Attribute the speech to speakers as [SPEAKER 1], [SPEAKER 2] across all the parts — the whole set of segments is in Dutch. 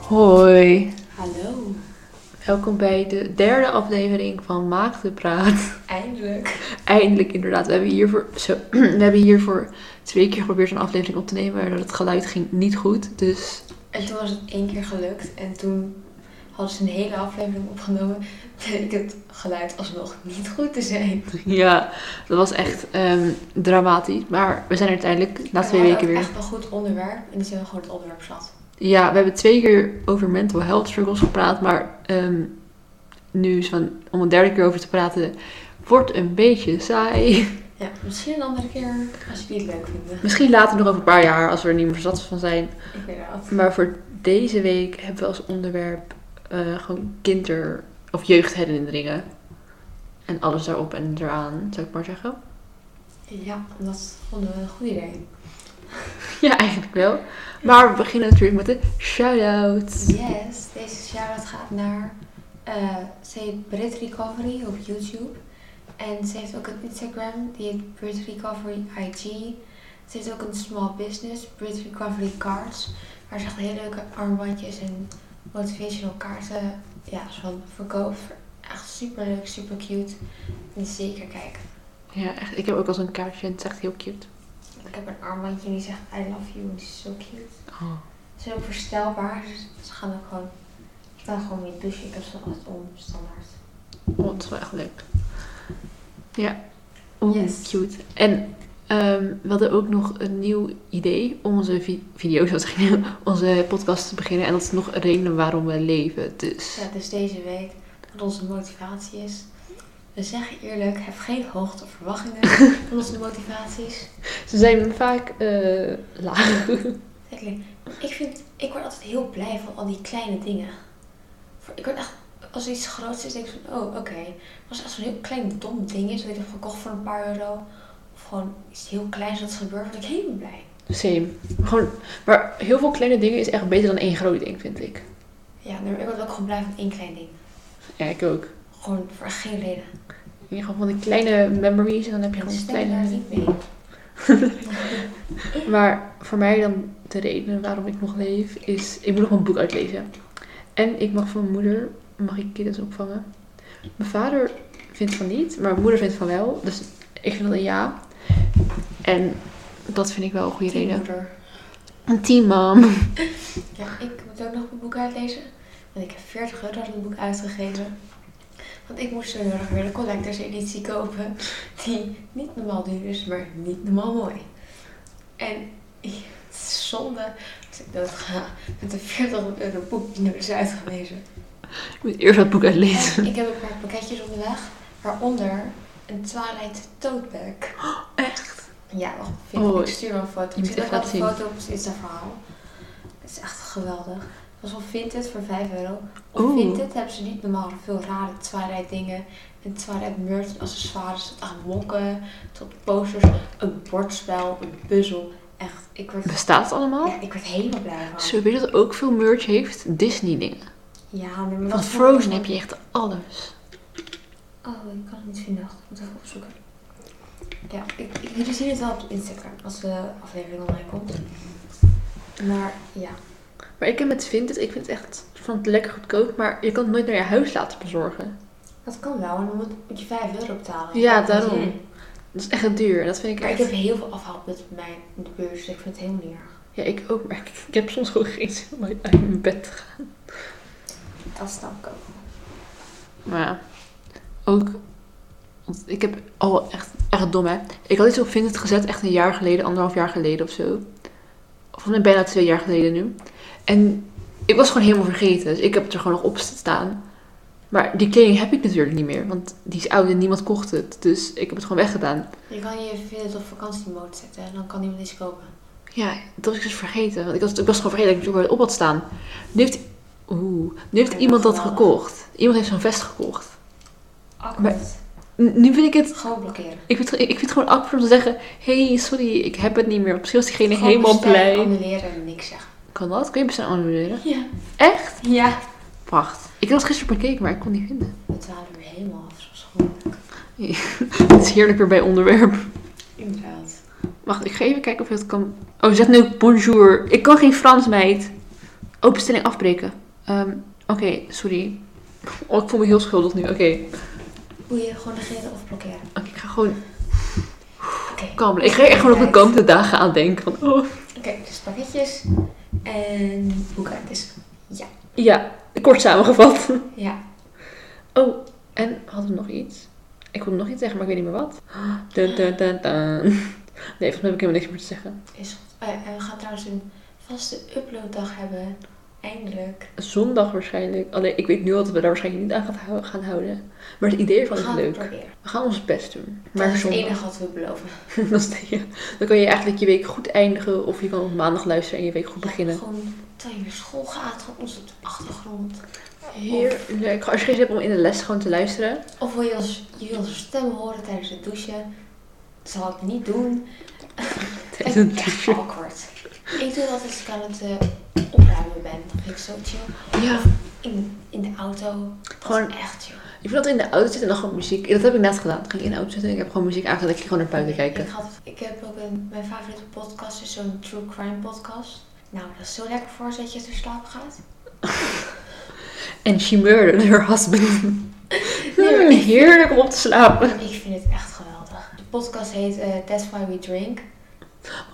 [SPEAKER 1] Hoi,
[SPEAKER 2] Hallo,
[SPEAKER 1] welkom bij de derde aflevering van Maagdenpraat.
[SPEAKER 2] eindelijk.
[SPEAKER 1] Eindelijk inderdaad, we hebben hiervoor, zo, we hebben hiervoor twee keer geprobeerd een aflevering op te nemen, maar het geluid ging niet goed. Dus
[SPEAKER 2] En toen was het één keer gelukt en toen hadden ze een hele aflevering opgenomen. Ik het geluid alsnog niet goed te zijn.
[SPEAKER 1] ja, dat was echt ehm, dramatisch. Maar we zijn er uiteindelijk na twee
[SPEAKER 2] we hadden
[SPEAKER 1] weken
[SPEAKER 2] ook
[SPEAKER 1] weer.
[SPEAKER 2] echt een goed onderwerp en die zijn we gewoon het onderwerp zat.
[SPEAKER 1] Ja, we hebben twee keer over mental health struggles gepraat, maar ehm, nu is van, om een derde keer over te praten, wordt een beetje saai.
[SPEAKER 2] Ja, misschien een andere keer als jullie het leuk vinden.
[SPEAKER 1] Misschien later nog over een paar jaar, als we er niet meer zat van zijn.
[SPEAKER 2] Ik weet het.
[SPEAKER 1] Maar voor deze week hebben we als onderwerp eh, gewoon kinder- of jeugdherinneringen. En alles daarop en eraan, zou ik maar zeggen.
[SPEAKER 2] Ja, dat vonden we een goed idee.
[SPEAKER 1] Ja, eigenlijk wel. Maar we beginnen natuurlijk met de shout-out.
[SPEAKER 2] Yes, deze shout-out gaat naar... eh ze heet Brit Recovery op YouTube. En ze heeft ook een Instagram, die heet Brit Recovery IG. Ze heeft ook een small business, Brit Recovery Cards. Waar ze echt hele leuke armbandjes en motivational kaarten ja, soort van verkoopt. Echt super leuk, super cute. En zeker kijken.
[SPEAKER 1] Ja, echt. Ik heb ook al zo'n kaartje en het is echt heel cute.
[SPEAKER 2] Ik heb een armbandje en die zegt I love you. en Die is zo cute.
[SPEAKER 1] Oh.
[SPEAKER 2] Ze zijn ook verstelbaar. dus Ze gaan ook gewoon. Ik kan gewoon niet douchen. Ik heb ze altijd om, standaard.
[SPEAKER 1] Oh, dat is wel echt leuk. Ja. Oh,
[SPEAKER 2] Yes.
[SPEAKER 1] cute. En ehm, we hadden ook nog een nieuw idee om onze vi- video's, als gingen, onze podcast te beginnen. En dat is nog een reden waarom we leven. Dus
[SPEAKER 2] Ja, dus deze week, wat onze motivatie is. We zeggen eerlijk, heb geen hoogte verwachtingen van onze motivaties.
[SPEAKER 1] ze zijn vaak eh, laag.
[SPEAKER 2] Zeker. Ik vind, ik word altijd heel blij van al die kleine dingen. Voor- Ik word echt, als er iets groots is, denk ik van, oh, oké. Maar Als het echt zo'n heel klein dom ding is, dat ik heb gekocht voor een paar euro. Of gewoon iets heel kleins dat gebeurt, word ik helemaal blij.
[SPEAKER 1] Same. Gewoon, maar heel veel kleine dingen is echt beter dan één groot ding, vind ik.
[SPEAKER 2] Ja, nee, maar ik word ook gewoon blij van één klein ding.
[SPEAKER 1] Ja, ik ook.
[SPEAKER 2] Gewoon voor echt geen reden.
[SPEAKER 1] In ieder geval van die kleine memories en dan heb je
[SPEAKER 2] Ik
[SPEAKER 1] gewoon
[SPEAKER 2] stem daar
[SPEAKER 1] kleine...
[SPEAKER 2] niet mee.
[SPEAKER 1] Maar voor mij dan de reden waarom ik nog leef is... Ik moet nog mijn boek uitlezen. En ik mag van mijn moeder... Mag ik kinders opvangen? Mijn vader vindt van niet, maar mijn moeder vindt van wel. Dus ik vind dat een ja. En dat vind ik wel een goede reden.
[SPEAKER 2] Moeder.
[SPEAKER 1] Een team, mam.
[SPEAKER 2] Ja, ik moet ook nog mijn boek uitlezen. Want ik heb 40 euro aan het boek uitgegeven. Want ik moest zo nodig weer de collectors editie kopen. Die niet normaal duur is, maar niet normaal mooi. En het is zonde als ik dat ga met een 40 euro boek die nu is uitgelezen.
[SPEAKER 1] Ik moet eerst dat boek uitlezen.
[SPEAKER 2] En ik heb een paar pakketjes onderweg. Waaronder een Twilight tote bag.
[SPEAKER 1] Echt?
[SPEAKER 2] Ja, wacht. vind
[SPEAKER 1] Oh,
[SPEAKER 2] ik stuur wel een foto.
[SPEAKER 1] je
[SPEAKER 2] Ik
[SPEAKER 1] moet
[SPEAKER 2] zet ook
[SPEAKER 1] echt
[SPEAKER 2] wel
[SPEAKER 1] laten zien.
[SPEAKER 2] een foto op ons Insta-verhaal. Het is echt geweldig. Dat was op Vinted voor 5 euro. Op
[SPEAKER 1] Oeh.
[SPEAKER 2] Vinted hebben ze niet normaal veel rare Twilight dingen. En Twilight merch en accessoires. Tot aan mokken, tot posters, een bordspel, een puzzel. Echt, ik werd,
[SPEAKER 1] Bestaat het allemaal?
[SPEAKER 2] ja, ik werd helemaal blij van.
[SPEAKER 1] Zo weet je dat ook veel merch heeft? Disney dingen.
[SPEAKER 2] Ja, nee,
[SPEAKER 1] Van
[SPEAKER 2] maar wat-
[SPEAKER 1] Frozen heb je echt alles.
[SPEAKER 2] Oh, ik kan het niet vinden. Ik moet even opzoeken. Ja, ik, ik, jullie zien het wel op Instagram als de aflevering online komt. Maar ja,
[SPEAKER 1] Maar ik heb met Vinted, ik vind het echt van het lekker goedkoop, maar je kan het nooit naar je huis laten bezorgen.
[SPEAKER 2] Dat kan wel, en dan moet, moet je 5 euro betalen.
[SPEAKER 1] Ja,
[SPEAKER 2] Dat is
[SPEAKER 1] daarom.
[SPEAKER 2] niet in.
[SPEAKER 1] Dat is echt duur en dat vind ik
[SPEAKER 2] Maar ik
[SPEAKER 1] echt...
[SPEAKER 2] heb heel veel afhaal met mij in de beurs, dus ik vind het helemaal niet erg.
[SPEAKER 1] Ja, ik ook, maar ik, ik heb soms gewoon geen zin om uit uit mijn bed te gaan.
[SPEAKER 2] Dat snap ik ook. wel.
[SPEAKER 1] Maar ja, ook... want Ik heb... Oh, echt, echt dom hè. Ik had iets op Vinted gezet, echt een jaar geleden, anderhalf jaar geleden of zo. Of nee, bijna twee jaar geleden nu. En ik was gewoon helemaal vergeten, dus ik heb het er gewoon nog op staan. Maar die kleding heb ik natuurlijk niet meer, want die is oud en niemand kocht het. Dus ik heb het gewoon weggedaan.
[SPEAKER 2] Je kan je even op vakantiemode zetten en dan kan iemand iets kopen.
[SPEAKER 1] Ja, dat was ik dus vergeten. Want ik was, ik was gewoon vergeten dat ik het op had staan. Nu heeft, oeh, nu heeft
[SPEAKER 2] Ja,
[SPEAKER 1] iemand dat
[SPEAKER 2] geweldig.
[SPEAKER 1] gekocht. Iemand heeft zo'n vest gekocht.
[SPEAKER 2] Akkoord.
[SPEAKER 1] N- nu vind ik het...
[SPEAKER 2] Gewoon blokkeren.
[SPEAKER 1] Ik vind, het- ik vind het gewoon awkward om te zeggen... Hé, hey, sorry, ik heb het niet meer. Misschien was diegene
[SPEAKER 2] Gewoon
[SPEAKER 1] helemaal
[SPEAKER 2] bestellen,
[SPEAKER 1] blij.
[SPEAKER 2] annuleren en niks zeggen.
[SPEAKER 1] Kan dat? Kun je bestaan annuleren?
[SPEAKER 2] Ja.
[SPEAKER 1] Echt?
[SPEAKER 2] Ja.
[SPEAKER 1] Wacht. Ik had gisteren bekeken, maar ik kon het niet vinden.
[SPEAKER 2] We dwalen weer helemaal af, zoals gewoonlijk.
[SPEAKER 1] Het is heerlijk weer bij onderwerp.
[SPEAKER 2] Inderdaad.
[SPEAKER 1] Wacht, ik ga even kijken of je dat kan... Oh, zet nu ook bonjour. Ik kan geen Frans, meid. Openstelling afbreken. Ehm, Oké, sorry. Oh, ik voel me heel schuldig nu. Oké,
[SPEAKER 2] Boeien, gewoon negeren of blokkeren.
[SPEAKER 1] Oké, ik ga gewoon
[SPEAKER 2] Oké.
[SPEAKER 1] kalm. Ik ga echt gewoon op de komende dagen aan denken. Van, oh.
[SPEAKER 2] Oké, dus pakketjes en boekhouders.
[SPEAKER 1] Ja, kort samengevat.
[SPEAKER 2] Ja.
[SPEAKER 1] Oh, en hadden we nog iets? Ik wilde nog iets zeggen, maar ik weet niet meer wat. Dun, dun, dun, dun. Nee, volgens mij heb ik helemaal niks meer te zeggen.
[SPEAKER 2] Is goed. Oh ja, en we gaan trouwens een vaste uploaddag hebben. Eindelijk.
[SPEAKER 1] Zondag waarschijnlijk. Alleen ik weet nu al dat we daar waarschijnlijk niet aan gaan hou- gaan houden. Maar het idee
[SPEAKER 2] We
[SPEAKER 1] ervan is
[SPEAKER 2] gaan het
[SPEAKER 1] leuk.
[SPEAKER 2] proberen.
[SPEAKER 1] We gaan ons best doen.
[SPEAKER 2] Dat
[SPEAKER 1] Maar
[SPEAKER 2] is het
[SPEAKER 1] zondag.
[SPEAKER 2] enige wat we beloven.
[SPEAKER 1] Dat is het enige. Dan kan je eigenlijk je week goed eindigen. Of je kan op maandag luisteren en je week goed
[SPEAKER 2] Ja,
[SPEAKER 1] beginnen.
[SPEAKER 2] gewoon terwijl je naar school gaat, gewoon ons op de achtergrond.
[SPEAKER 1] Heerlijk. Als je geen zin hebt om in de les gewoon te luisteren.
[SPEAKER 2] Of wil je, ons, je wil onze stem horen tijdens het douchen? Dat zal ik niet doen.
[SPEAKER 1] tijdens het
[SPEAKER 2] Echt
[SPEAKER 1] douchen.
[SPEAKER 2] awkward. Ik doe dat als ik aan het eh, opruimen ben. Dan vind ik zo chill.
[SPEAKER 1] Ja.
[SPEAKER 2] In, in de auto. Dat
[SPEAKER 1] Gewoon-
[SPEAKER 2] is echt chill.
[SPEAKER 1] Ik vind dat in de auto zitten en dan gewoon muziek. Dat heb ik net gedaan. Ik ging in de auto zitten en ik heb gewoon muziek aangezet. Ik ging gewoon naar buiten kijken.
[SPEAKER 2] Ik, had, ik heb ook een, mijn favoriete podcast, is zo'n true crime podcast. Nou, dat is zo lekker voordat je te slapen gaat.
[SPEAKER 1] En she murdered her husband. Hmm, heerlijk om op te slapen.
[SPEAKER 2] Ik vind het echt geweldig. De podcast heet eh, That's Why We Drink.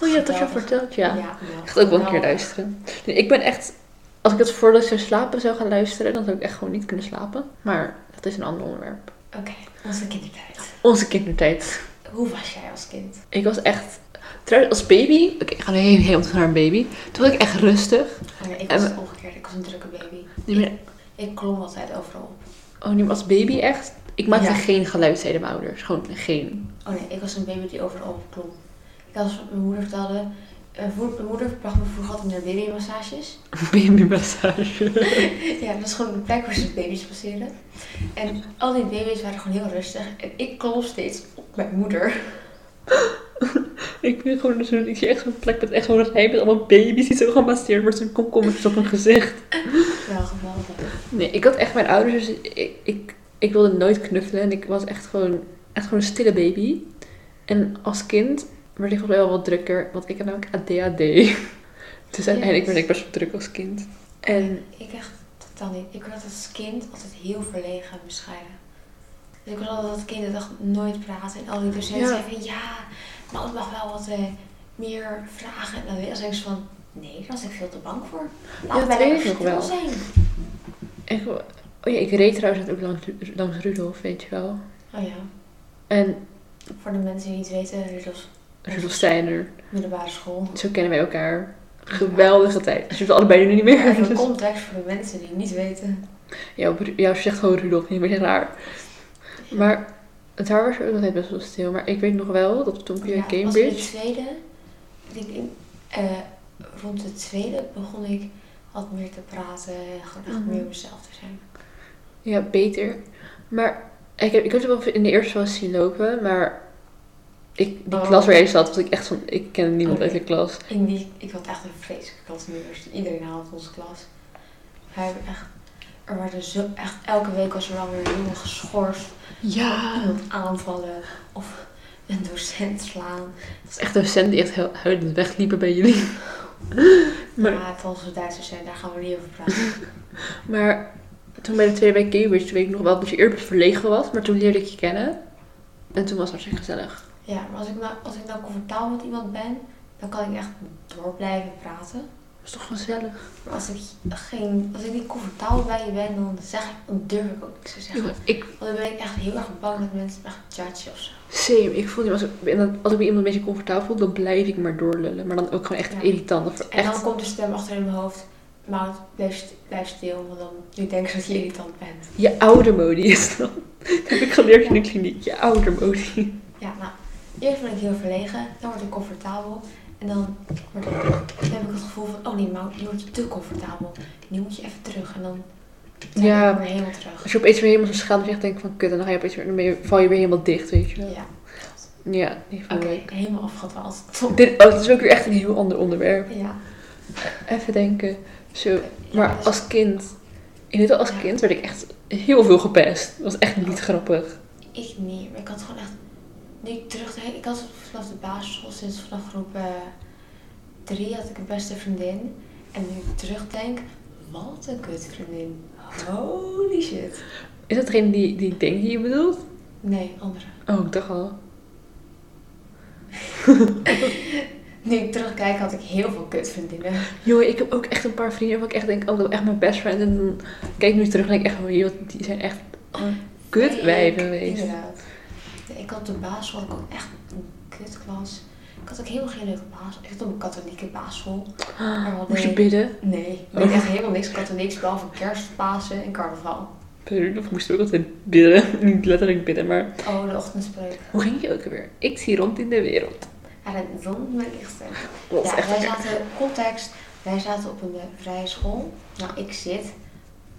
[SPEAKER 1] Oh ja, dat had je al
[SPEAKER 2] Geweldig.
[SPEAKER 1] verteld, ja.
[SPEAKER 2] nou,
[SPEAKER 1] Ik ga het ook wel een
[SPEAKER 2] nou,
[SPEAKER 1] keer luisteren. Nee, ik ben echt... Als ik het voordat ik zou slapen zou gaan luisteren, dan zou ik echt gewoon niet kunnen slapen. Maar dat is een ander onderwerp.
[SPEAKER 2] Oké, onze kindertijd.
[SPEAKER 1] Onze kindertijd.
[SPEAKER 2] Hoe was jij als kind?
[SPEAKER 1] Ik was echt... Trouwens, als baby... Oké, ik ga nu heel- helemaal terug naar een baby. Toen was ik echt rustig.
[SPEAKER 2] Oh nee, ik
[SPEAKER 1] En
[SPEAKER 2] was
[SPEAKER 1] we-
[SPEAKER 2] het omgekeerd. Ik was een drukke baby.
[SPEAKER 1] Niet meer-
[SPEAKER 2] Ik klom altijd overal op.
[SPEAKER 1] Oh, nu als baby echt... Ik maakte
[SPEAKER 2] Ja.
[SPEAKER 1] geen geluid, zeiden mijn ouders. Gewoon geen.
[SPEAKER 2] Oh nee, ik was een baby die overal op klom. Ik had, mijn moeder vertelde... eh, vroeg- mijn moeder bracht me vroeger altijd naar babymassages.
[SPEAKER 1] Babymassage.
[SPEAKER 2] Ja, dat is gewoon de plek waar ze baby's passeren. En al die baby's waren gewoon heel rustig. En ik klom steeds op mijn moeder.
[SPEAKER 1] Ik vind gewoon zo'n... Ik zie echt zo'n plek met echt zo'n rij met allemaal baby's die zo gemasseerd worden. Zo'n komkommertjes op hun gezicht.
[SPEAKER 2] Wel geweldig.
[SPEAKER 1] Nee, ik had echt mijn ouders, dus ik, ik, ik wilde nooit knuffelen en ik was echt gewoon, echt gewoon een stille baby. En als kind werd ik volgens mij wel wat drukker, want ik heb namelijk ADHD. Dus uiteindelijk werd ik best wel druk als kind. En
[SPEAKER 2] Ik echt totaal niet. Ik werd als kind altijd heel verlegen en bescheiden. Dus ik was altijd dat kind dat echt nooit praten. En al die docenten
[SPEAKER 1] Ja.
[SPEAKER 2] zeiden van ja, nou ik mag wel wat eh, meer vragen. En dan was ik zo van nee, daar was ik veel te bang voor. Laat
[SPEAKER 1] dat
[SPEAKER 2] mij
[SPEAKER 1] weet
[SPEAKER 2] lekker
[SPEAKER 1] ik nog wel.
[SPEAKER 2] stil zijn.
[SPEAKER 1] ik, oh ja, ik reed trouwens net ook langs, langs Rudolf, weet je wel.
[SPEAKER 2] Oh ja,
[SPEAKER 1] En
[SPEAKER 2] voor de mensen die het weten, dit was
[SPEAKER 1] Rudolf Steiner,
[SPEAKER 2] middelbare school.
[SPEAKER 1] zo kennen wij elkaar. Geweldige tijd. Dus je hebt het allebei nu niet meer.
[SPEAKER 2] Even
[SPEAKER 1] Dus-
[SPEAKER 2] context voor de mensen die het niet weten.
[SPEAKER 1] Ja, op- ja, ze zegt gewoon Rudolf, niet meer raar. Maar daar was het ook altijd best wel stil. Maar ik weet nog wel dat we toen via
[SPEAKER 2] Ja, was in de
[SPEAKER 1] Cambridge...
[SPEAKER 2] tweede, ik, denk, eh, rond de tweede begon ik wat meer te praten, gewoon echt
[SPEAKER 1] Mhm.
[SPEAKER 2] meer mezelf te zijn.
[SPEAKER 1] Ja, beter. Maar ik heb, ik heb ze wel in de eerste wel eens zien lopen, maar... Ik, die
[SPEAKER 2] Oh.
[SPEAKER 1] klas waar jij zat, was ik echt van... Ik ken niemand
[SPEAKER 2] Oké.
[SPEAKER 1] uit de klas.
[SPEAKER 2] In die, ik had echt een vreselijke klas in de eerste. Iedereen haalde onze klas. Wij hebben echt, er waren zo, echt elke week was er wel weer iemand geschorst, iemand aanvallen of een docent slaan.
[SPEAKER 1] Dat is echt docenten die echt heel huilend wegliepen bij jullie. maar,
[SPEAKER 2] Maar ja, het was een Duitse docent, daar gaan we niet over praten.
[SPEAKER 1] maar toen bij de tweede bij Cambridge, toen weet ik nog wel dat je eerst verlegen was. Maar toen leerde ik je kennen. En toen was het hartstikke gezellig.
[SPEAKER 2] ja, maar als ik, nou, als ik nou comfortabel met iemand ben, dan kan ik echt door blijven praten.
[SPEAKER 1] Dat was toch gezellig?
[SPEAKER 2] Maar als ik, geen, als ik niet comfortabel bij je ben, dan, zeg ik, dan durf ik ook niks te zeggen.
[SPEAKER 1] Jongen, ik
[SPEAKER 2] Want dan ben ik echt heel erg bang dat mensen me gaan judgen of zo.
[SPEAKER 1] Same. Ik voel niet als ik, en dan- als ik bij iemand een beetje comfortabel voel, dan blijf ik maar doorlullen. Maar dan ook gewoon echt
[SPEAKER 2] Ja.
[SPEAKER 1] irritant. Dat
[SPEAKER 2] En
[SPEAKER 1] echt,
[SPEAKER 2] dan komt de stem achter in mijn hoofd. Maar blijf, st- blijf stil, want dan nu denken ze dat je irritant bent.
[SPEAKER 1] je oudermodie is dan. Dat heb ik geleerd in de kliniek. Je oudermodie.
[SPEAKER 2] Ja, nou, eerst ben ik heel verlegen, dan word ik comfortabel. En dan, word ik, dan heb ik het gevoel van, oh nee, maar nu word je te comfortabel. Nu moet je even terug en dan ben
[SPEAKER 1] Ja.
[SPEAKER 2] ik weer helemaal terug.
[SPEAKER 1] Als je opeens weer helemaal zo schaam zegt, denk ik van kut. En dan, ga je opeens weer, dan ben je- val je weer helemaal dicht, weet je wel.
[SPEAKER 2] Ja,
[SPEAKER 1] Ja, die voel
[SPEAKER 2] oké,
[SPEAKER 1] ik.
[SPEAKER 2] helemaal afgedwaald.
[SPEAKER 1] Dit, oh, dit is ook weer echt een heel ander onderwerp.
[SPEAKER 2] Ja,
[SPEAKER 1] Even denken. Zo.
[SPEAKER 2] Ja,
[SPEAKER 1] Maar
[SPEAKER 2] dus-
[SPEAKER 1] als kind, in ieder geval als
[SPEAKER 2] Ja.
[SPEAKER 1] kind, werd ik echt heel veel gepest. Dat was echt niet grappig.
[SPEAKER 2] Ik niet, maar ik had gewoon echt. Nu ik terugdenk, ik had vanaf de basisschool, sinds vanaf groep eh, drie had ik een beste vriendin. En nu ik terugdenk, Wat een kutvriendin. Holy shit.
[SPEAKER 1] Is dat degene die, die ik denk die je bedoelt?
[SPEAKER 2] Nee, andere.
[SPEAKER 1] Oh, ik dacht al.
[SPEAKER 2] Nu ik terugkijk had ik heel veel kutvriendinnen.
[SPEAKER 1] Jongen, ik heb ook echt een paar vrienden waar ik echt denk, oh, dat was echt mijn best friend. En dan kijk ik nu terug en denk ik echt, van, joh, die zijn echt kut wijven geweest.
[SPEAKER 2] Inderdaad. Nee, Ik had de basisschool, ik had echt een kutklas. Ik had ook helemaal geen leuke basisschool. Ik had op een katholieke basisschool. Maar we
[SPEAKER 1] Ah, Moest je
[SPEAKER 2] hadden-
[SPEAKER 1] bidden? Oh.
[SPEAKER 2] Nee, ik deed echt helemaal niks katholieks, behalve kerst, Pasen en carnaval.
[SPEAKER 1] Bidden? Of moest je ook altijd bidden? Niet letterlijk bidden, maar...
[SPEAKER 2] Oh, de ochtendspreuk.
[SPEAKER 1] Hoe ging je ook weer? Ik zie rond in de wereld.
[SPEAKER 2] En het rond mijn lichten.
[SPEAKER 1] Dat is
[SPEAKER 2] ja,
[SPEAKER 1] echt
[SPEAKER 2] wij
[SPEAKER 1] erg.
[SPEAKER 2] zaten, context, wij zaten op een eh, vrije school. Nou, ik zit,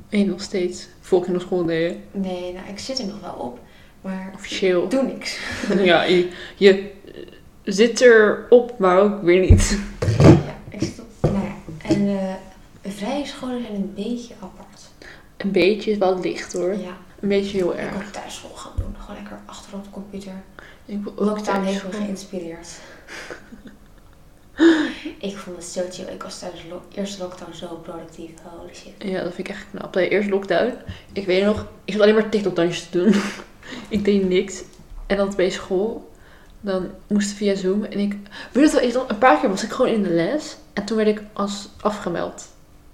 [SPEAKER 1] Nee, nog steeds. Volgende school deden.
[SPEAKER 2] nee, nou, ik zit er nog wel op, maar
[SPEAKER 1] Officieel.
[SPEAKER 2] doe niks.
[SPEAKER 1] ja, je, je eh, zit erop, maar ook weer niet.
[SPEAKER 2] ja, ik zit op, nou ja. En eh, de vrije scholen zijn een beetje apart.
[SPEAKER 1] Een beetje is wel licht hoor.
[SPEAKER 2] Ja,
[SPEAKER 1] Een beetje heel
[SPEAKER 2] ik
[SPEAKER 1] erg.
[SPEAKER 2] kon thuisschool gaan doen, gewoon lekker achter op de computer.
[SPEAKER 1] Ik wil ook
[SPEAKER 2] Lockdown heeft me
[SPEAKER 1] thuis-
[SPEAKER 2] geïnspireerd. ik vond het zo chill. Ik was tijdens de lo- eerste lockdown zo productief. Holy shit.
[SPEAKER 1] Ja, dat vind ik echt knap. Nee, Eerst lockdown. Ik weet nog, ik zat alleen maar TikTok-dansjes te doen. ik deed niks. En dan bij school, dan moest het via Zoom. En ik, weet je wat wel eens, een paar keer was ik gewoon in de les. En toen werd ik als afgemeld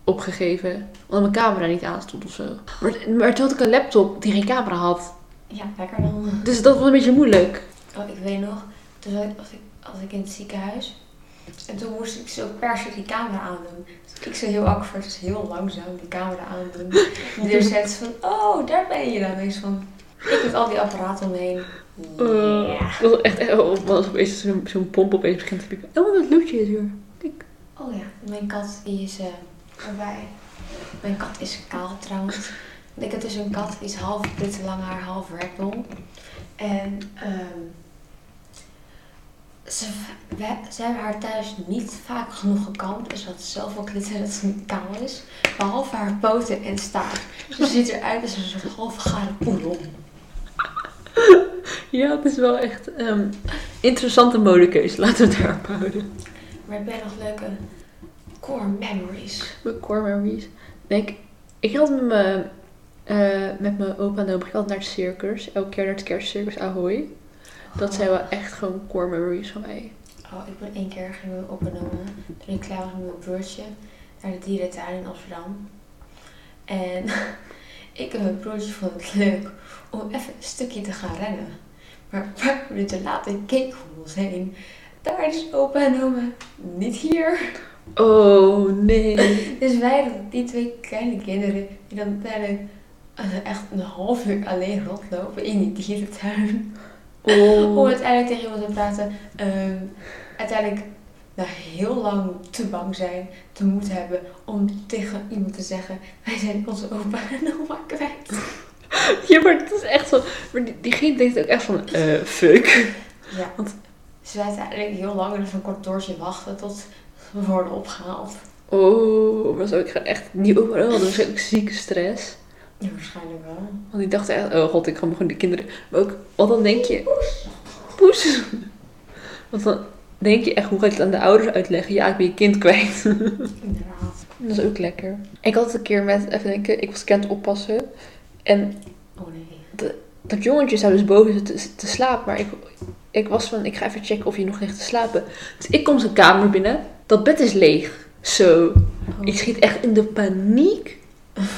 [SPEAKER 1] opgegeven. Omdat mijn camera niet aan stond of zo. Maar, maar toen had ik een laptop die geen camera had.
[SPEAKER 2] Ja, lekker dan.
[SPEAKER 1] Dus dat was een beetje moeilijk.
[SPEAKER 2] Oh, ik weet nog, toen zat ik, was, ik, was ik in het ziekenhuis. En toen moest ik zo per se die camera aandoen. Dus ik zo heel awkward, dus heel langzaam die camera aandoen. En de docent is van, oh, daar ben je dan. En ik zo van, ik met al die apparaten omheen.
[SPEAKER 1] Eh,
[SPEAKER 2] Ja.
[SPEAKER 1] Dat was echt, echt- oh, als opeens zo'n zo'n pomp opeens begint te pieken. Oh, dat loetje is hier. Kijk.
[SPEAKER 2] Oh ja, mijn kat die is eh erbij. Mijn kat is kaal trouwens. Ik heb dus een kat die is half dit lang haar, half ragdoll. En ehm, ze, we, ze hebben haar thuis niet vaak genoeg gekamd. Dus ze had zelf ook litten dat ze niet kaal is. Behalve haar poten en staart. Dus Ze ziet eruit als een soort half garen poedel.
[SPEAKER 1] Ja, het is wel echt ehm, interessante modekeuze. Laten we het daarop houden.
[SPEAKER 2] Maar ik ben nog leuke core memories.
[SPEAKER 1] Mijn core memories. Denk, ik ging altijd met mijn, eh, met mijn opa en oma ging ik altijd naar het circus. Elke keer naar het kerstcircus Ahoy. Dat zijn wel echt gewoon core memories van mij.
[SPEAKER 2] Oh, ik ben één keer ging opgenomen toen ik klaar was met mijn broertje naar de dierentuin in Amsterdam. En ik en mijn broertje vonden het leuk om even een stukje te gaan rennen. Maar een paar minuten later keek ik om ons heen. Daar is opa en oma, niet hier.
[SPEAKER 1] Oh nee.
[SPEAKER 2] Dus wij, die twee kleine kinderen, die dan uiteindelijk eh, echt een half uur alleen rondlopen in die dierentuin. Om
[SPEAKER 1] Oh.
[SPEAKER 2] uiteindelijk tegen iemand te praten. ehm, uiteindelijk nou, heel lang te bang zijn, te moed hebben om tegen iemand te zeggen: Wij zijn onze opa en oma kwijt.
[SPEAKER 1] Ja, maar het is echt zo. Maar die- diegene denkt ook echt van, eh, fuck.
[SPEAKER 2] Ja, want ze zijn uiteindelijk heel lang in zo'n kantoortje wachten tot we worden opgehaald.
[SPEAKER 1] Oh, maar dat is ook gewoon echt niet overal. Dat is ook zieke stress.
[SPEAKER 2] Ja, waarschijnlijk wel.
[SPEAKER 1] Want die dacht echt, oh god, ik ga me gewoon die kinderen. Maar ook, want dan denk je. Poes. Want dan denk je echt, hoe ga ik het aan de ouders uitleggen? Ja, ik ben je kind kwijt.
[SPEAKER 2] Inderdaad.
[SPEAKER 1] Dat is ook lekker. Ik had het een keer met, even denken, ik was kind oppassen. En
[SPEAKER 2] Oh nee.
[SPEAKER 1] dat jongetje zou dus boven zitten te, te slapen. Maar ik, ik was van, ik ga even checken of hij nog ligt te slapen. Dus ik kom zijn kamer binnen. Dat bed is leeg. Zo.
[SPEAKER 2] Oh.
[SPEAKER 1] Ik schiet echt in de paniek.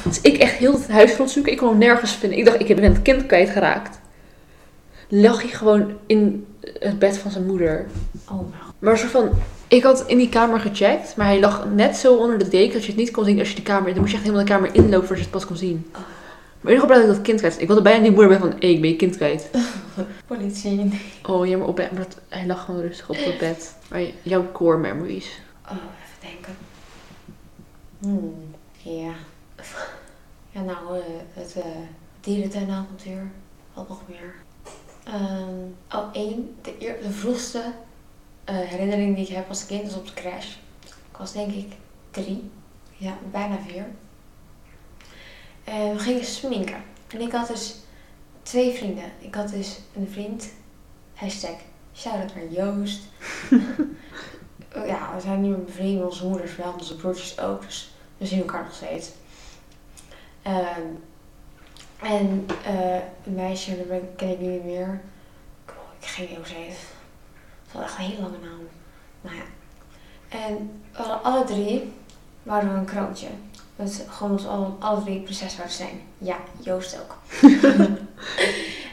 [SPEAKER 1] Dus ik echt heel het huis rondzoeken. Ik kon hem nergens vinden. Ik dacht, ik ben het kind kwijtgeraakt. Lag hij gewoon in het bed van zijn moeder.
[SPEAKER 2] Oh, mijn god.
[SPEAKER 1] Maar soort van, ik had in die kamer gecheckt, maar hij lag net zo onder de deken dat je het niet kon zien als je de kamer... Dan moest je echt helemaal de kamer inlopen voordat je het pas kon zien.
[SPEAKER 2] Oh.
[SPEAKER 1] Maar in ieder geval blijf ik dat kind kwijt. Ik wilde bijna die moeder bij van, hé, ik ben je kind kwijt.
[SPEAKER 2] Politie.
[SPEAKER 1] Oh, ja, maar, op, maar dat, hij lag gewoon rustig op het bed. Maar jouw core memories.
[SPEAKER 2] Oh, even denken. Hmm, ja. Ja, nou, eh, het eh dierentuinavontuur. Wat nog meer? Ehm, oh, één. De, eer- de vroegste eh, herinnering die ik heb als kind was op de crash. Ik was denk ik drie. Ja, bijna vier. En we gingen sminken. En ik had dus twee vrienden. Ik had dus een vriend. Hashtag shout-out naar Joost. Oh ja, we zijn nu een vriend, onze moeders wel, onze broertjes ook. Dus We zien elkaar nog steeds. Ehm, en eh, een meisje, dat ben- ken ik nu niet meer. Ik bedoel, Ik geen idee hoe ze heet. Ze had echt een hele lange naam. Nou ja. En we hadden alle drie waren we een kroontje. Dat is gewoon ons alle, alle drie prinses zouden zijn. Ja, Joost ook.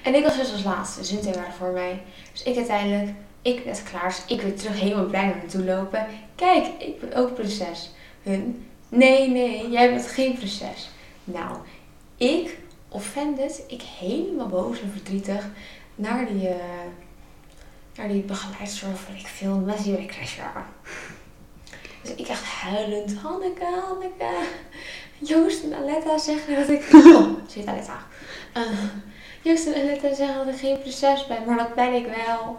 [SPEAKER 2] en ik was dus als laatste, dus hun twee waren voor mij. Dus ik uiteindelijk, ik net klaar, dus ik weer terug helemaal blij naar naartoe lopen. Kijk, ik ben ook prinses. Hun, nee, nee, jij bent geen prinses. Nou, ik, offended, ik helemaal boos en verdrietig naar die, eh, naar die begeleidster of weet ik veel, mensen die bij de crash waren. Dus ik echt huilend, Hanneke, Hanneke. Joost en Aletta zeggen dat ik... Oh, ze heet Aletta. Eh, Joost en Aletta zeggen dat ik geen prinses ben, maar dat ben ik wel.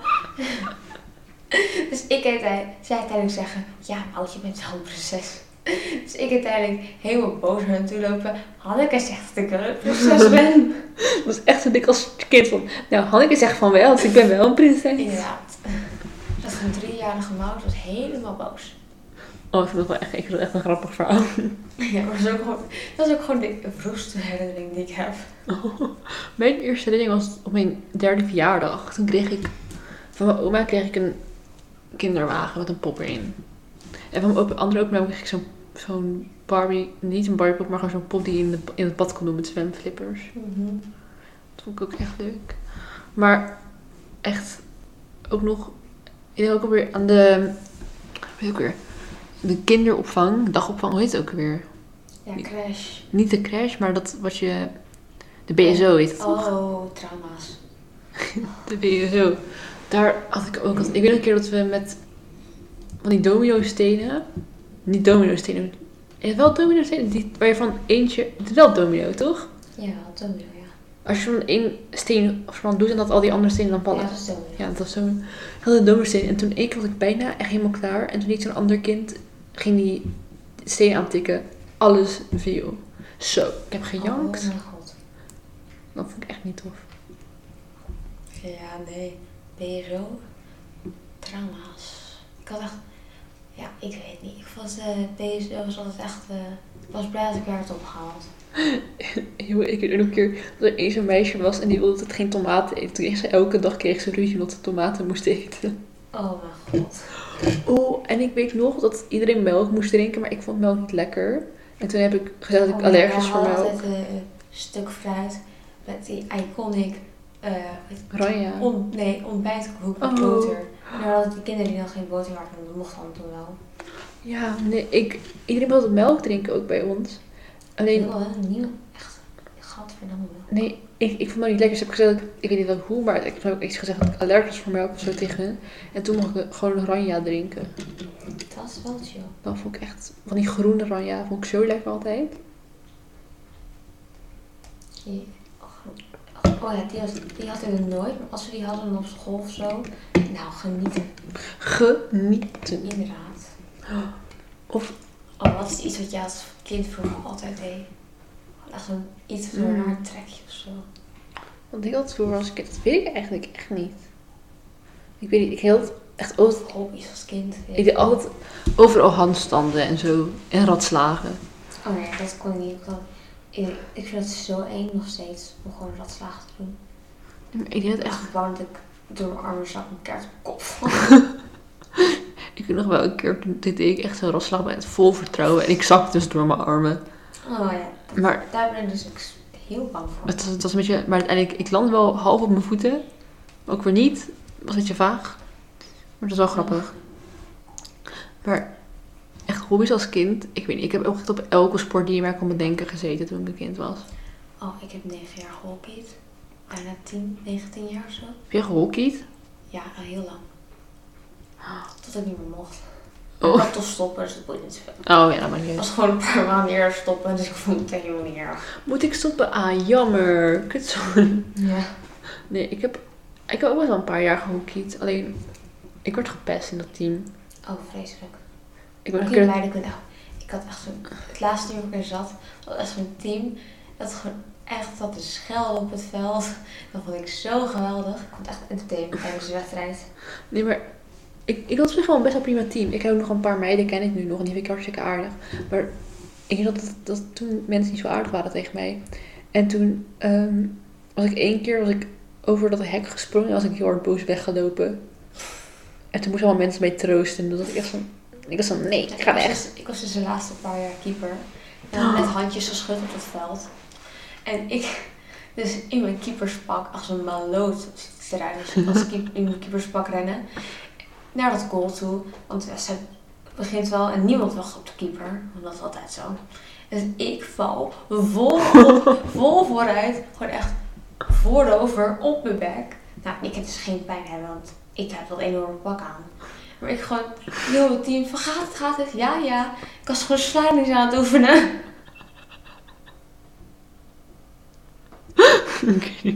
[SPEAKER 2] dus ik uiteindelijk, zij uiteindelijk zeggen, ja Mout, je bent wel een prinses. Dus ik uiteindelijk helemaal boos naar hen toe lopen. Hanneke zegt dat ik wel een prinses ben.
[SPEAKER 1] Dat was echt zo dik als kind van... Nou, Hanneke zegt van wel, dus ik ben wel een prinses.
[SPEAKER 2] Inderdaad. Dat is een driejarige Mout was helemaal boos.
[SPEAKER 1] Oh, ik vind dat wel echt, ik vind dat echt een grappig verhaal.
[SPEAKER 2] Ja, maar dat is ook gewoon, dat is ook gewoon de vroegste herinnering die ik heb.
[SPEAKER 1] Mijn eerste herinnering was op mijn derde verjaardag. Toen kreeg ik van mijn oma kreeg ik een kinderwagen met een pop erin. En van mijn op- andere oma kreeg ik zo'n zo'n Barbie, niet een Barbie pop, maar gewoon zo'n pop die je in, de, in het bad kon doen met zwemflippers.
[SPEAKER 2] Mhm.
[SPEAKER 1] Dat vond ik ook echt leuk. Maar echt ook nog, ik denk ook alweer aan de, weet ik ook weer, de kinderopvang, dagopvang, hoe heet het ook weer?
[SPEAKER 2] Ja, crash.
[SPEAKER 1] Niet de crash, maar dat wat je, de BSO heet het toch?
[SPEAKER 2] Oh, trauma's.
[SPEAKER 1] de BSO. Daar had ik ook. Ik weet nog een keer dat we met van die domino-stenen. Niet domino-stenen. eh, Wel domino-stenen die, waar je van eentje. Het is wel domino, toch?
[SPEAKER 2] Ja, domino, ja.
[SPEAKER 1] Als je van één steen van doet en dat al die andere stenen dan vallen.
[SPEAKER 2] Ja, dat is domino.
[SPEAKER 1] Ja, dat was zo. Ik had een domino-steen en toen één keer was ik bijna echt helemaal klaar. En toen liet zo'n ander kind. ging die steen aantikken. Alles viel. Zo, ik heb gejankt.
[SPEAKER 2] Oh mijn god.
[SPEAKER 1] Dat vond ik echt niet tof.
[SPEAKER 2] Ja, nee. BSO. Trauma's. Ik had echt... Ja, ik weet niet. Ik was eh BSO was altijd echt... eh, ik was blij dat ik weer had opgehaald.
[SPEAKER 1] Jongen, ik weet ook nog een keer dat er eens een meisje was en die wilde dat geen tomaten eten. Toen kreeg ze elke dag kreeg ze ruzie omdat ze tomaten moest eten.
[SPEAKER 2] Oh mijn god.
[SPEAKER 1] Oh, en ik weet nog dat iedereen melk moest drinken, maar ik vond melk niet lekker. En toen heb ik gezegd dat
[SPEAKER 2] Oh,
[SPEAKER 1] ik allergisch
[SPEAKER 2] ja,
[SPEAKER 1] voor
[SPEAKER 2] we hadden
[SPEAKER 1] melk.
[SPEAKER 2] altijd eh, een stuk fruit met die iconic... eh,
[SPEAKER 1] Ranja.
[SPEAKER 2] On, nee, ontbijtkoek met
[SPEAKER 1] Oh.
[SPEAKER 2] boter. En daar hadden die kinderen die nog geen boter hadden, dat mocht dan toen wel.
[SPEAKER 1] Ja, nee, ik, iedereen wilde melk drinken ook bij ons.
[SPEAKER 2] Ik
[SPEAKER 1] Alleen,
[SPEAKER 2] wil wel een nieuw, echt, gadverdamme wel.
[SPEAKER 1] nee, ik, ik vond melk niet lekker. Dus heb ik gezegd, dat ik, ik weet niet wel hoe, maar ik toen heb ik iets gezegd dat ik allergisch voor melk of zo tegen hen. En toen mocht ik gewoon ranja drinken.
[SPEAKER 2] Dat is wel chill.
[SPEAKER 1] Dat vond ik echt, van die groene ranja vond ik zo lekker altijd.
[SPEAKER 2] Die- oh, oh ja, die, was, die hadden we nooit, maar als we die hadden op school of zo, nou genieten,
[SPEAKER 1] genieten.
[SPEAKER 2] inderdaad.
[SPEAKER 1] Of-
[SPEAKER 2] Oh, wat is iets wat jij als kind vroeger altijd deed? Echt een, iets van een
[SPEAKER 1] Mm.
[SPEAKER 2] raar trekje of zo.
[SPEAKER 1] Want ik had vroeger als kind, dat weet ik eigenlijk echt niet. Ik weet niet, ik hield echt altijd,
[SPEAKER 2] Of hobby's als kind. weet
[SPEAKER 1] ik deed altijd overal handstanden en zo. En ratslagen.
[SPEAKER 2] Oh nee, dat kon niet. Ik, kon- ik, ik vind het zo eng nog steeds om gewoon dat slagen te doen.
[SPEAKER 1] Maar Ik deed het echt,
[SPEAKER 2] Echt bang dat ik door mijn armen zak een kaart op mijn kop val.
[SPEAKER 1] ik weet nog wel een keer, toen deed ik echt zo'n ratslag met vol vertrouwen. En ik zakte dus door mijn armen.
[SPEAKER 2] Oh ja, dat-
[SPEAKER 1] Maar
[SPEAKER 2] daar ben ik dus ook s- heel bang voor.
[SPEAKER 1] het was, het was een beetje, maar uiteindelijk, ik landde wel half op mijn voeten. Maar ook weer niet. Het was een beetje vaag. Maar dat is wel grappig. Maar echt hobby's als kind, ik weet niet, ik heb ook echt op elke sport die je maar kon bedenken gezeten toen ik een kind was.
[SPEAKER 2] Oh, ik heb 9 jaar gehockeyd. Bijna 10, 19 jaar of zo.
[SPEAKER 1] Heb je gehockeyd?
[SPEAKER 2] Ja, al heel lang. Tot ik niet meer mocht.
[SPEAKER 1] Oh.
[SPEAKER 2] Ik had toch stoppen, dus dat boeit niet zoveel.
[SPEAKER 1] Oh ja, dat maakt niet
[SPEAKER 2] Het
[SPEAKER 1] uit.
[SPEAKER 2] was gewoon een paar maanden eerder stoppen, dus ik vond het helemaal niet erg.
[SPEAKER 1] Moet ik stoppen? Ah, jammer. Kutzoen.
[SPEAKER 2] Ja.
[SPEAKER 1] Nee, ik heb, ik heb ook wel een paar jaar gehockeyd. Alleen, ik werd gepest in dat team.
[SPEAKER 2] Oh, vreselijk.
[SPEAKER 1] Ik ben
[SPEAKER 2] Ik
[SPEAKER 1] een
[SPEAKER 2] ben
[SPEAKER 1] keer...
[SPEAKER 2] blij dat ik ben- oh, ik had echt zo'n, het laatste team waar ik in zat, was echt zo'n team dat gewoon echt zat te schelden op het veld. Dat vond ik zo geweldig. Ik vond het echt entertainment tijdens de wedstrijd.
[SPEAKER 1] Nee, maar ik, ik had op zich wel een best wel prima team. Ik heb ook nog een paar meiden, ken ik nu nog. En die vind ik hartstikke aardig. Maar ik denk dat, dat, dat toen mensen niet zo aardig waren tegen mij. En toen ehm, was ik één keer was ik over dat hek gesprongen en was ik heel hard boos weggelopen. En toen moesten allemaal mensen mij troosten. En toen was ik echt van, ik was van, nee, ik ga
[SPEAKER 2] was
[SPEAKER 1] weg.
[SPEAKER 2] dus- ik was dus de laatste paar jaar keeper. En dan met handjes geschud op het veld. En ik, dus in mijn keeperspak, als een maloot, zit ik eruit als- als keep- in mijn keeperspak rennen. Naar dat goal toe. Want de wedstrijd begint wel en niemand wacht op de keeper. Want dat is altijd zo. Dus ik val vol, op- vol vooruit, gewoon echt voorover op mijn bek. Nou, ik heb dus geen pijn hebben, want ik heb dat enorme pak aan. Maar ik gewoon, heel het team, van gaat het, gaat het? Ja, ja. Ik was gewoon slidings aan het oefenen.
[SPEAKER 1] Oké.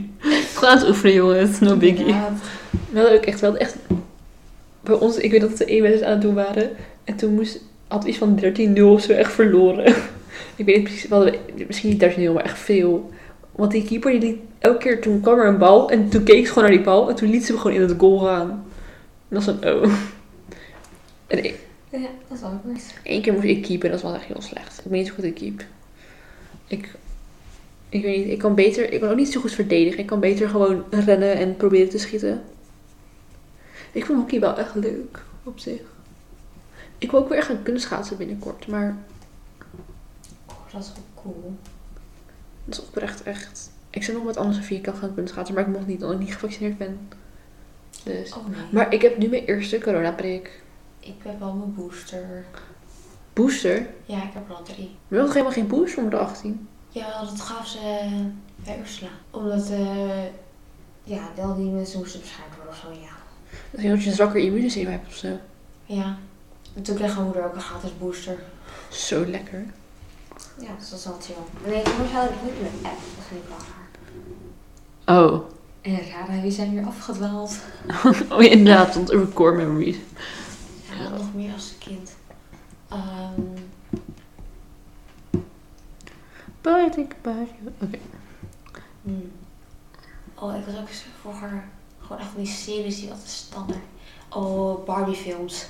[SPEAKER 1] Gewoon aan het oefenen, jongens. No biggie.
[SPEAKER 2] Ja,
[SPEAKER 1] We hadden ook echt, we hadden echt... Bij ons, ik weet dat we één wedstrijd aan het doen waren. En toen moest, had iets van 13-0 of zo echt verloren. ik weet niet precies, we hadden misschien niet 13-0, maar echt veel. Want die keeper, die liet elke keer, toen kwam er een bal. En toen keek ze gewoon naar die bal. En toen liet ze hem gewoon in het goal gaan. En dat was dan, oh. En één-
[SPEAKER 2] ja, dat is awkward.
[SPEAKER 1] één keer moest ik keepen. En dat was echt heel slecht. Ik weet niet zo goed ik keep. Ik... Ik weet niet, ik kan beter, ik kan ook niet zo goed verdedigen. Ik kan beter gewoon rennen en proberen te schieten. Ik vond hockey wel echt leuk, op zich. Ik wil ook weer echt gaan kunnen schaatsen binnenkort, maar
[SPEAKER 2] Oh, dat is wel cool.
[SPEAKER 1] dat is oprecht echt... Ik zou nog met Anne Sofie kan gaan kunnen schaatsen, maar ik mocht niet, omdat ik niet gevaccineerd ben. Dus...
[SPEAKER 2] Oh nee.
[SPEAKER 1] Maar ik heb nu mijn eerste coronaprik.
[SPEAKER 2] Ik heb wel mijn booster.
[SPEAKER 1] Booster?
[SPEAKER 2] Ja, ik heb er al drie.
[SPEAKER 1] We hadden helemaal geen booster onder de 18.
[SPEAKER 2] Jawel, dat gaf ze eh, bij Ursula. Omdat, eh ja, wel die mensen moesten beschermd worden of zo, ja.
[SPEAKER 1] Dat is omdat je een zwakker immuunsysteem hebt of zo.
[SPEAKER 2] Ja. En toen kreeg mijn moeder ook een gratis booster.
[SPEAKER 1] Zo lekker.
[SPEAKER 2] Ja, dus dat is wel chill. Nee, toen had ik niet mijn app. Dat ging ik wel raar.
[SPEAKER 1] Oh.
[SPEAKER 2] En Rara, wie zijn hier afgedwaald?
[SPEAKER 1] Oh, ja, inderdaad, want over core memories.
[SPEAKER 2] Ja, dat nog meer als kind. Ehm,
[SPEAKER 1] But I think about you. Oké.
[SPEAKER 2] hmm. Oh, ik was ook eens vroeger gewoon echt van die series die altijd standaard. Oh, Barbie films.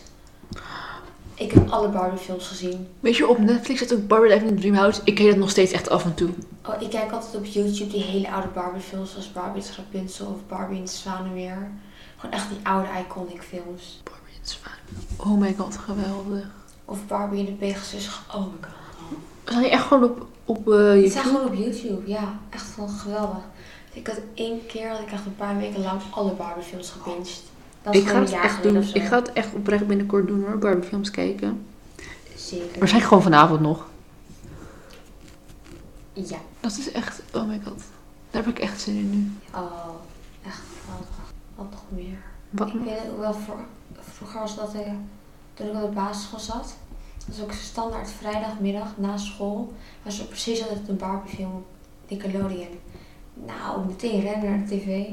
[SPEAKER 2] Ik heb alle Barbie films gezien.
[SPEAKER 1] Weet je, op Netflix zit ook Barbie Life in the Dream House. Ik kijk dat nog steeds echt af en toe.
[SPEAKER 2] Oh, ik kijk altijd op YouTube die hele oude Barbie films zoals Barbie het Rapunzel of Barbie in het Zwanenmeer. Gewoon echt die oude iconic films.
[SPEAKER 1] Barbie is fijn. Oh my god, geweldig.
[SPEAKER 2] Of Barbie in de Pegasus. Oh my god.
[SPEAKER 1] We staan hier echt gewoon op, op eh,
[SPEAKER 2] Het staat
[SPEAKER 1] YouTube.
[SPEAKER 2] gewoon op YouTube, ja. Echt gewoon geweldig. Ik had één keer, dat ik echt een paar weken lang alle Barbie films gebinged. Dat is
[SPEAKER 1] Ik ga
[SPEAKER 2] gewoon een
[SPEAKER 1] het
[SPEAKER 2] jaar
[SPEAKER 1] echt
[SPEAKER 2] geleden
[SPEAKER 1] doen.
[SPEAKER 2] of zo.
[SPEAKER 1] Ik ga het echt oprecht binnenkort doen hoor. Barbie films kijken.
[SPEAKER 2] Zeker.
[SPEAKER 1] Waarschijnlijk gewoon vanavond nog.
[SPEAKER 2] Ja.
[SPEAKER 1] Dat is echt, oh my god. Daar heb ik echt zin in nu.
[SPEAKER 2] Oh, echt geweldig. Wat nog meer?
[SPEAKER 1] Wat?
[SPEAKER 2] Ik weet ook wel, voor, vroeger was dat, eh, toen ik op de basisschool zat, was ook standaard vrijdagmiddag na school, was er precies altijd een Barbie film op Nickelodeon. Nou, meteen rennen naar de tv.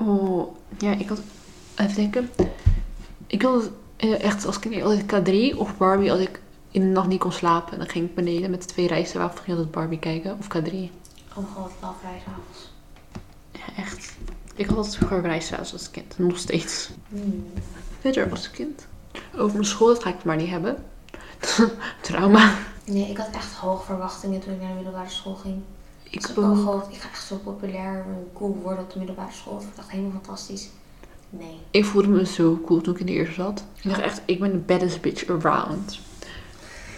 [SPEAKER 1] Oh, ja, ik had. Even denken. Ik wilde eh, echt als kind altijd K3 of Barbie als ik in de nacht niet kon slapen. En dan ging ik beneden met de twee rijstwafels ging ik altijd Barbie kijken. Of K3.
[SPEAKER 2] Oh god, wel vrijdagavond.
[SPEAKER 1] Ja, echt. Ik had altijd vroeger rijstwafels als kind. Nog steeds.
[SPEAKER 2] Hmm.
[SPEAKER 1] Verder als kind. Over mijn school, dat ga ik maar niet hebben. Trauma.
[SPEAKER 2] Nee, ik had echt hoge verwachtingen toen ik naar de middelbare school ging. Ik
[SPEAKER 1] Ik ehm,
[SPEAKER 2] had
[SPEAKER 1] ook.
[SPEAKER 2] ook gehoopt, ik ga echt zo populair en cool worden op de middelbare school. Dat vond ik echt helemaal fantastisch. Nee.
[SPEAKER 1] Ik voelde me zo cool toen ik in de eerste zat. Ik dacht echt, ik ben de baddest bitch around.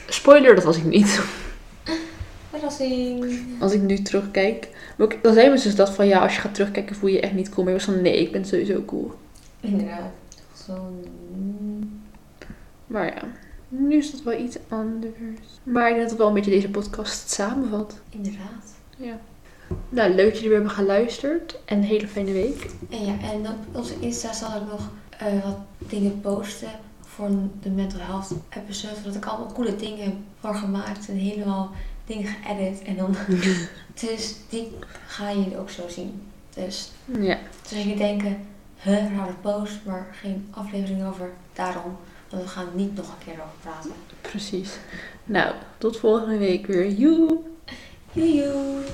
[SPEAKER 1] Spoiler, dat was ik niet.
[SPEAKER 2] Verrassing.
[SPEAKER 1] Als ik nu terugkijk. Maar ook- dan zei mijn zus dat van ja, als je gaat terugkijken voel je je echt niet cool. Maar ik was van nee, ik ben sowieso cool.
[SPEAKER 2] Inderdaad. Zo. mm.
[SPEAKER 1] Maar ja, nu is dat wel iets anders. Maar ik denk dat het wel een beetje deze podcast samenvat.
[SPEAKER 2] Inderdaad.
[SPEAKER 1] Ja. Nou, leuk dat jullie weer hebben geluisterd. En een hele fijne week.
[SPEAKER 2] En ja, en op onze Insta zal ik nog eh, wat dingen posten voor de mental health episode. Zodat ik allemaal coole dingen heb voor gemaakt en helemaal dingen geëdit. En dan. dus die gaan jullie ook zo zien. Dus
[SPEAKER 1] Ja.
[SPEAKER 2] Dus als jullie denken, huh, rare post, maar geen aflevering over, daarom. Want we gaan niet nog een keer over praten.
[SPEAKER 1] Precies. Nou, tot volgende week weer. Joe!
[SPEAKER 2] Joejoe!